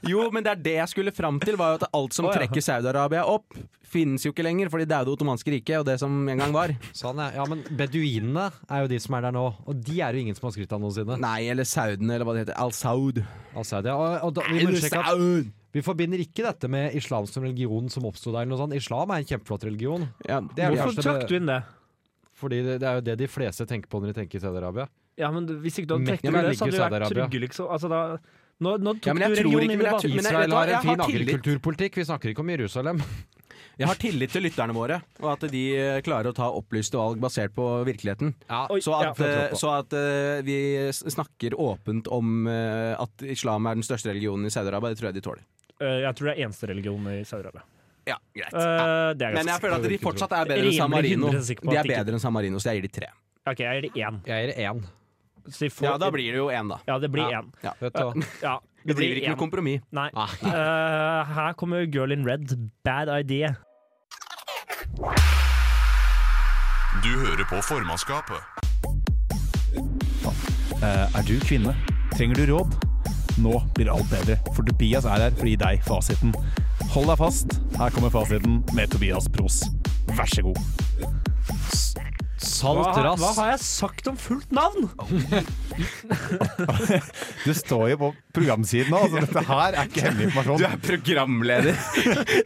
Jo, men det er det jeg skulle fram til, var jo at alt som Å, ja. trekker Saudi-Arabia opp, finnes jo ikke lenger, for de daue ottomanske riket og det som en gang var. Sånn, ja. ja, men beduinene er jo de som er der nå, og de er jo ingen som har skrytt av noensinne. Nei, eller Saudene, eller hva det heter. Al-Saud. av Saudi. Og, og da, vi, må understreke at Al-Saud. vi forbinder ikke dette med islam som religion som oppsto der. eller noe sånt. Islam er en kjempeflott religion, Ja. Det er det Hvorfor verste trakk med- du inn det? Fordi det, det er jo det de fleste tenker på når de tenker Saudi-Arabia. Ja, men Hvis ikke du hadde trukket Mekka inn det, så ligger i hadde du vært Saudi-Arabia. trygge, liksom. Altså, da, nå, nå tok Ja, men jeg du tror religion ikke- men inn jeg i tror- banen. vet du Israel hva, har jeg en fin har tillit. agrikulturpolitikk. Vi snakker ikke om Jerusalem. Jeg har tillit til lytterne våre, og at de eh, klarer å ta opplyste valg basert på virkeligheten. Oi, Så at, ja. eh, så at eh, vi s- snakker åpent om eh, at islam er den største religionen i Saudi-Arabia, det tror jeg de tåler. Eh, Jeg tror det er eneste religion i Saudi-Arabia. Ja, greit. Eh, det er Men jeg ganske føler at de ikke tro. fortsatt er bedre enn Rimelig San Marino. 100% sikker på De at er de ikke- bedre enn San Marino, så jeg gir de tre. OK, jeg gir det én. Jeg gir én. Så de får- Ja, da blir det jo én, da. Ja, det blir Ja. én. Vet du hva. Ja, Vi det blir driver ikke én. med kompromiss. Nei. <laughs> Eh, her kommer Girl in Red, Bad Idea. Du hører på formannskapet. Eh, Er du kvinne? Trenger du råd? Nå blir alt bedre, for Tobias er her for å gi deg fasiten. Hold deg fast, her kommer fasiten med Tobias Pros. Vær så god. Salt Hva, har- hva rass. har Oh. jeg sagt om fullt navn?! Du står jo på programsiden nå, altså dette her er ikke hemmelig <laughs> informasjon. programleder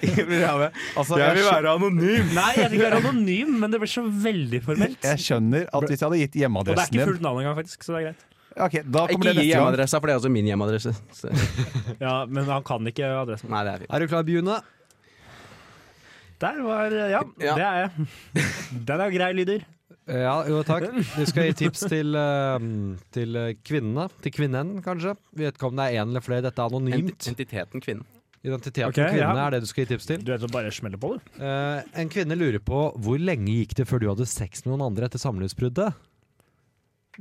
i programmet. Altså, Jeg vil skjø- være anonym! Nei, jeg tenker være anonym, men det blir så veldig formelt. jeg skjønner at hvis jeg hadde gitt Og det er hjemmeadressen ikke din fullt navn engang, faktisk, så det er greit. Ok, Da kommer Ikke det gi neste gang. hjemmeadressa, for det er også min hjemmeadresse. Så, Ja, Men han kan ikke adressen. nei, det er fint. Er du klar, Bjune? Der var eh, Ja, Ja. det er jeg. <laughs> Den er grei, lyder. Ja, jo takk. Vi skal gi <laughs> tips til, eh, til eh, kvinnene. Til kvinnen, kanskje. Vi vet ikke om det er én eller flere. Dette er anonymt. Entiteten <laughs> kvinnen. Identiteten Ok, til kvinnene ja. er det du skal gi tips til. Du vet å bare smelle på, du. Eh, en kvinne lurer på hvor lenge gikk det før du hadde sex med noen andre etter samlivsbruddet?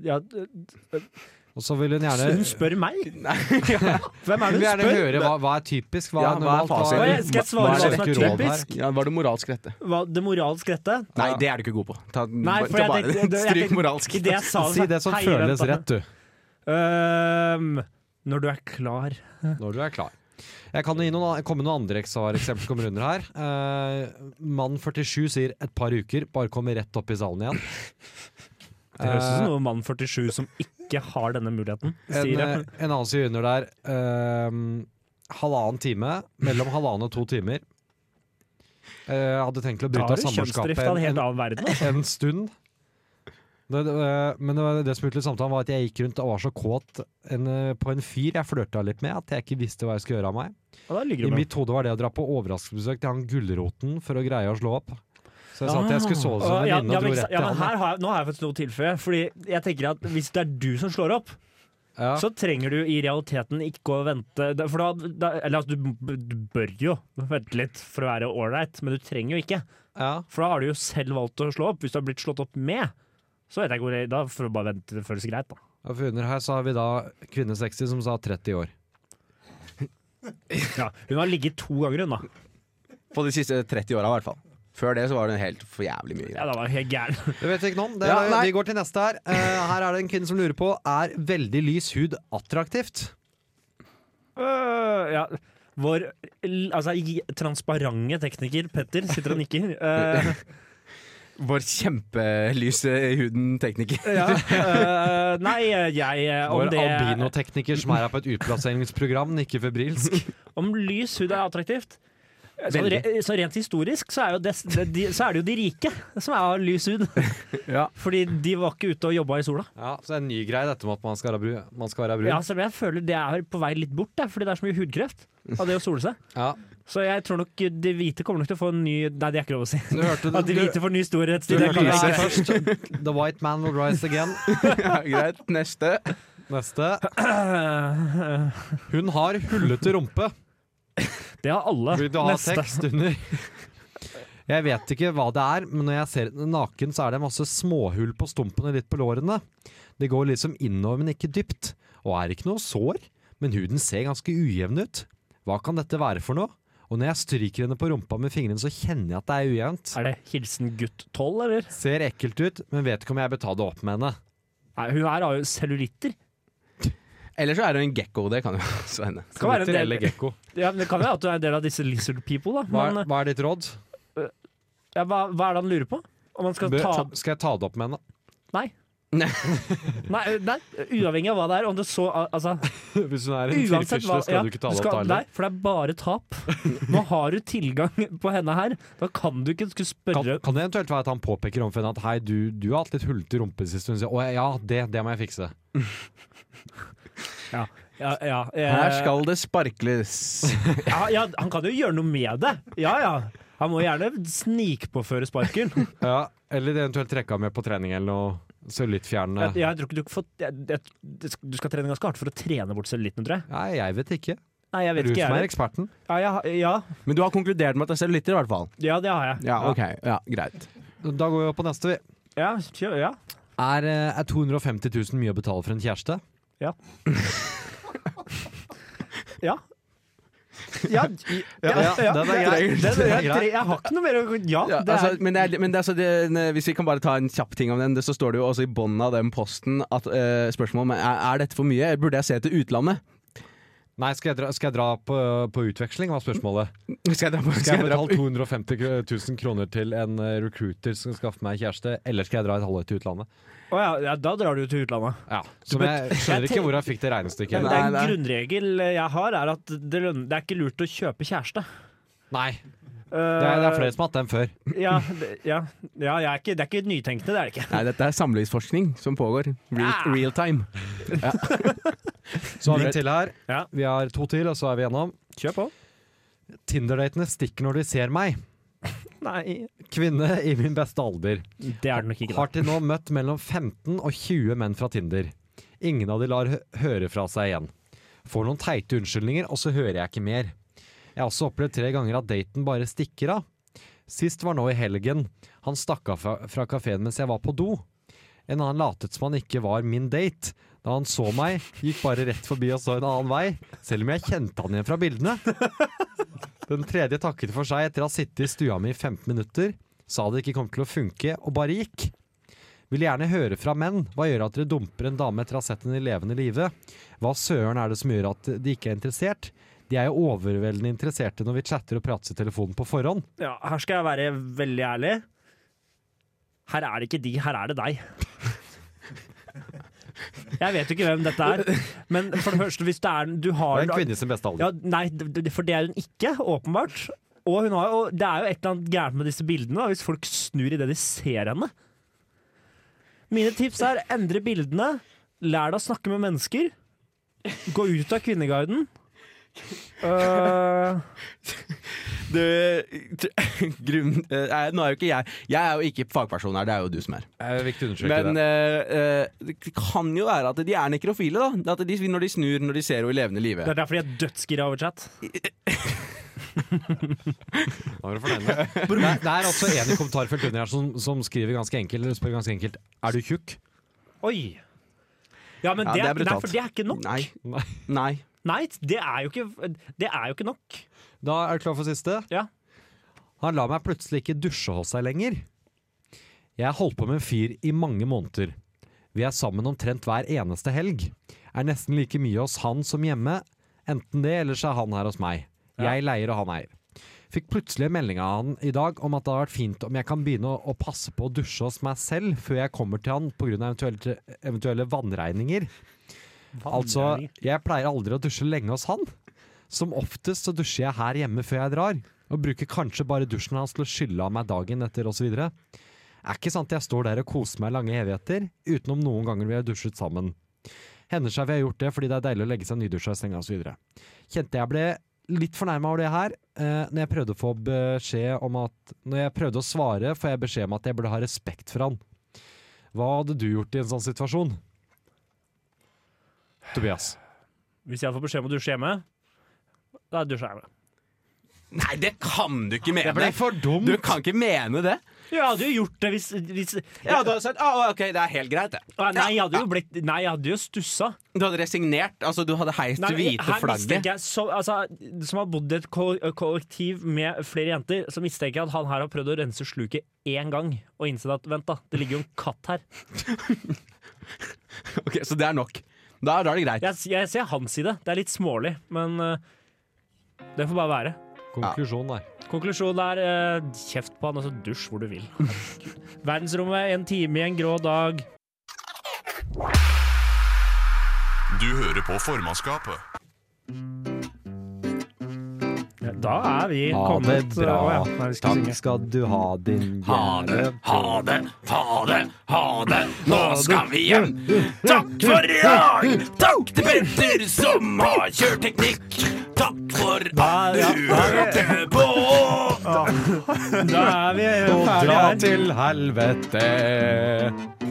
Ja, d- Og så vil hun så gjerne hun spør meg? Hvem er Hun det vil hun gjerne spør? høre hva, hva er typisk. Hva Ja, er hva er normalt? Hva fasiten? er, Hva er- skal jeg hva svare er hva som er rett og typisk? Ja, var det moralsk rette? Hva, det moralsk rette? Nei, det er du ikke god på. Ta, Nei, for ta jeg bare, tenkte- jeg stryk tenkte- moralsk. I det jeg sa Si det som «Hei, føles vent da». rett, du. Øhm, når du er klar. Når du er klar. Jeg kan gi noen, an- komme noen andre eks- svar- eksempler som kommer under her. Eh, mann 47 sier 'et par uker', bare kommer rett opp i salen igjen. <laughs> Det høres ut som noe mann 47 som ikke har denne muligheten, Eh, En, sier. eh, jeg. en annen sier under der ehm, halvannen time, mellom halvannen og to timer. Eh, hadde tenkt til å Da bryte av har du kjønnsdrift samboerskapet av en helt en, en, annen verden. en stund. Det, det, eh, men det, var- det som utgjorde samtalen, var at jeg gikk rundt og var så kåt en, eh, på en fyr jeg flørta litt med, at jeg ikke visste hva jeg skulle gjøre av meg. Og da ligger I du med. mitt hode var det å dra på overraskelsesbesøk til han Gulroten for å greie å slå opp. Så jeg sa at jeg skulle sove som Å, Ah. ja, ja, venninne og dro men, ikke sant. rett ja, til men han. her har jeg, nå har jeg fått noe å tilføye. Fordi jeg tenker at Hvis det er du som slår opp, Ja. så trenger du i realiteten ikke å vente. Da- For da, da Eller altså, du, du bør jo vente litt for å være ålreit, men du trenger jo ikke. Ja. For da har du jo selv valgt å slå opp. Hvis du har blitt slått opp med, så vet jeg ikke hvor jeg, da får du bare vente til det føles greit. da Og for under her så har vi da kvinne 60 som sa 30 år. Ja, Hun har ligget to ganger, hun da. På de siste 30 åra, i hvert fall. Før det så var det helt for jævlig mye Ja, greier. da var hun helt gæren. Det vet jeg ikke noe om. Det, Ja, nei. vi går til neste her. Eh, her er det en kvinne som lurer på Er veldig lys hud attraktivt. Øh, ja. Vår l- altså, i- transparente tekniker Petter sitter og nikker. Øh, Vår kjempelyse i huden tekniker. <laughs> ja. øh, nei, jeg øh, om Vår det albinotekniker som er her på et utplasseringsprogram, nikker febrilsk. Om lys hud er attraktivt så, Veldig. re, så rent historisk så er, jo des, de, så er det jo de rike som er av lys <laughs> hud. Ja. Fordi de var ikke ute og jobba i sola. <laughs> Ja, så det er en ny greie dette med at man skal være brun. Man skal være brun. Ja, selv om jeg føler det er på vei litt bort, jeg, fordi det er så mye hudkreft av det å sole seg. Ja. Så jeg tror nok de hvite kommer nok til å få en ny Nei, det er ikke lov å si. Du hørte At de du- hvite får ny storhet. du det hørte kan det jeg her ikke. først. The white man will rise again. Ja, greit. Neste. Neste. Øh, øh, Hun har hullete rumpe. Det har alle. Vil du ha Neste. tekst under? <laughs> Jeg vet ikke hva det er, men når jeg ser den naken, så er det masse småhull på stumpene litt på lårene. Det går liksom innover, men ikke dypt. Og er ikke noe sår, men huden ser ganske ujevn ut. Hva kan dette være for noe? Og når jeg stryker henne på rumpa med fingrene, så kjenner jeg at det er ujevnt. Er det hilsen gutt 12, eller? Ser ekkelt ut, men vet ikke om jeg bør ta det opp med henne. Nei, hun her har jo cellulitter. Eller så er det en gekko. Det kan jo <laughs> også hende. Det kan være en Eller del, gekko. ja, men det kan være at du er en del av disse lizard people, da. Hva, Men, eh, hva er ditt råd? ja, hva, hva er det han lurer på? Om han skal Bør, ta skal jeg ta det opp med henne? Nei, eh, nei, uavhengig av hva det er. Om det så <laughs> Altså, <laughs> Hvis hun er uansett hva ja, skal- Nei, heller. for det er bare tap. Nå har du tilgang på henne her. Da kan du ikke skulle spørre Kan, kan det eventuelt være at han påpeker overfor henne at hei, du, du har hatt litt hullete rumpe sist? Hun sier å ja, det, det må jeg fikse. Ja, ja, eh, Her skal det sparkles. ja, ja, han kan jo gjøre noe med det. Ja, ja. Han må gjerne snikpåføre sparken. Ja, eller eventuelt trekke av med på trening eller noe. Så litt fjernende. Jeg, jeg tror ikke du, får, jeg, jeg, du skal trene ganske hardt for å trene bort cellulitten, tror jeg. Nei, jeg vet ikke. Nei, Det jeg er vet du ikke, som er jeg. eksperten. Ja, ja, ja, <laughs> Men du har konkludert med at jeg selv lytter, i hvert fall. ja, det har jeg. Ja, ok. Ja, greit. Da går vi opp på neste, vi. Ja, kjør, ja. Er, eh, er 250 000 mye å betale for en kjæreste? Ja. Ja, i- ja, den er grei. Den- Den er jeg, grei. jeg har ikke noe mer å Ja, Ja, det er, altså, men det er, men det er så det, ne- hvis vi kan bare ta en kjapp ting om den, det, så står det jo også i bånn av den posten at eh, spørsmålet om er, er dette for mye, eller burde jeg se til utlandet? Nei, skal jeg dra, skal jeg dra på, på utveksling, var <laughs> spørsmålet. Skal jeg dra på, Skal jeg dra på- betale 250 000 kroner til en eh, recruiter som skal skaffe meg kjæreste, eller skal jeg dra et halvår til utlandet? Å ja, ja, da drar du jo til utlandet. Ja, Som jeg skjønner ikke hvor jeg fikk det regnestykket. Men heller. det er en nei. grunnregel jeg har, er at det, lønner, det er ikke lurt å kjøpe kjæreste. Eh, Nei, det er, det er flere som har hatt den før. Ja, det, ja, ja jeg er ikke, det er ikke nytenkende, det er det ikke. Nei, dette er samlivsforskning som pågår. Real, real time. Så har vi en til her. Ja. Vi har to til, og så er vi gjennom. Kjør på. Tinder-datene stikker når de ser meg. Nei, Kvinne i min beste alder. det er det nok ikke. Har til nå møtt mellom 15 og 20 menn fra Tinder. Ingen av de lar hø- høre fra seg igjen. Får noen teite unnskyldninger, og så hører jeg ikke mer. Jeg har også opplevd tre ganger at daten bare stikker av. Sist var nå i helgen. Han stakk av fra, fra kafeen mens jeg var på do. En annen latet som han ikke var min date. Da han så meg, gikk bare rett forbi og så en annen vei, selv om jeg kjente han igjen fra bildene. Den tredje takket for seg etter å ha sittet i stua mi i 15 minutter, sa det ikke kom til å funke, og bare gikk. Vil gjerne høre fra menn. Hva gjør at dere dumper en dame etter å ha sett henne i levende live? Hva søren er det som gjør at de ikke er interessert? De er jo overveldende interesserte når vi chatter og prater i telefonen på forhånd. Ja, her skal jeg være veldig ærlig. Her er det ikke de, her er det deg. Jeg vet jo ikke hvem dette er, men for det første, hvis det er du Det har er en kvinne i sin beste alder. ja, Nei, d- d- for det er hun ikke, åpenbart. Og hun har, jo- det er jo et eller annet gærent med disse bildene, da, hvis folk snur idet de ser henne. Mine tips er endre bildene, lær deg å snakke med mennesker, gå ut av Kvinneguiden. Øh, Du, <laughs> grunn, eh, nei, nå er jo ikke jeg Jeg er jo ikke fagperson her, det er jo du som er. Det er viktig å understreke Men det. eh, eh, det kan jo være at de er nekrofile, da. At de, når de snur når de ser henne i levende live. det er derfor de er dødsgira over chat. Da var du fornøyd med det. Det er- det er altså en i kommentarfeltet under her som, som skriver ganske enkelt, eller spør ganske enkelt Er du tjukk? Oi! Ja, men Ja, det, det er er nei, brutalt. for det er ikke nok. Nei. Nei. Nei. Nei, det er jo ikke, det er jo ikke nok. Da er du klar for siste? Ja. Han lar meg plutselig ikke dusje hos seg lenger. Jeg har holdt på med en fyr i mange måneder. Vi er sammen omtrent hver eneste helg. Er nesten like mye hos han som hjemme. Enten det, eller så er han her hos meg. Jeg leier, og han eier. Fikk plutselig en melding av han i dag om at det hadde vært fint om jeg kan begynne å, å passe på å dusje hos meg selv før jeg kommer til han pga. Eventuelle, eventuelle vannregninger. Altså, jeg pleier aldri å dusje lenge hos han. Som oftest så dusjer jeg her hjemme før jeg drar, og bruker kanskje bare dusjen hans til å skylle av meg dagen etter osv. Er ikke sant jeg står der og koser meg i lange evigheter, utenom noen ganger vi har dusjet sammen. Hender seg vi har gjort det fordi det er deilig å legge seg nydusja i senga osv. Kjente jeg ble litt fornærma over det her, eh, når jeg prøvde å få beskjed om at Når jeg prøvde å svare, får jeg beskjed om at jeg burde ha respekt for han. Hva hadde du gjort i en sånn situasjon? Tobias. Hvis jeg får beskjed om å dusje hjemme, da dusjer jeg hjemme. Nei, det kan du ikke mene! for dumt! Du kan ikke mene det! Jeg hadde jo gjort det hvis, hvis Ja, du hadde sagt «Ah, OK, det er helt greit, det. Ah, Nei, jeg hadde jo, blitt, nei, jeg hadde jo stussa. Du hadde resignert. Altså, du hadde heist Nei, det hvite her flagget. mistenker jeg, som, altså, som har bodd i et ko- kollektiv med flere jenter, så mistenker jeg at han her har prøvd å rense sluket én gang og innsett at vent, da, det ligger jo en katt her. Ok, Så det er nok. Da, da er det greit. Jeg, jeg ser hans side. Det er litt smålig, men eh, det får bare være. Konklusjon der. Konklusjonen er eh, kjeft på han, og så dusj hvor du vil. Verdensrommet, en time i en grå dag. Du hører på formannskapet. Da er vi Ha kommet det bra. Å, ja. Nei, vi skal Takk synge. skal du ha, din jævla ha det, ha det, ha det. Nå skal vi hjem. Takk for i dag. Takk til Petter som har kjørt teknikk. Takk for at du hørte på. Da er vi eh, Dra til helvete.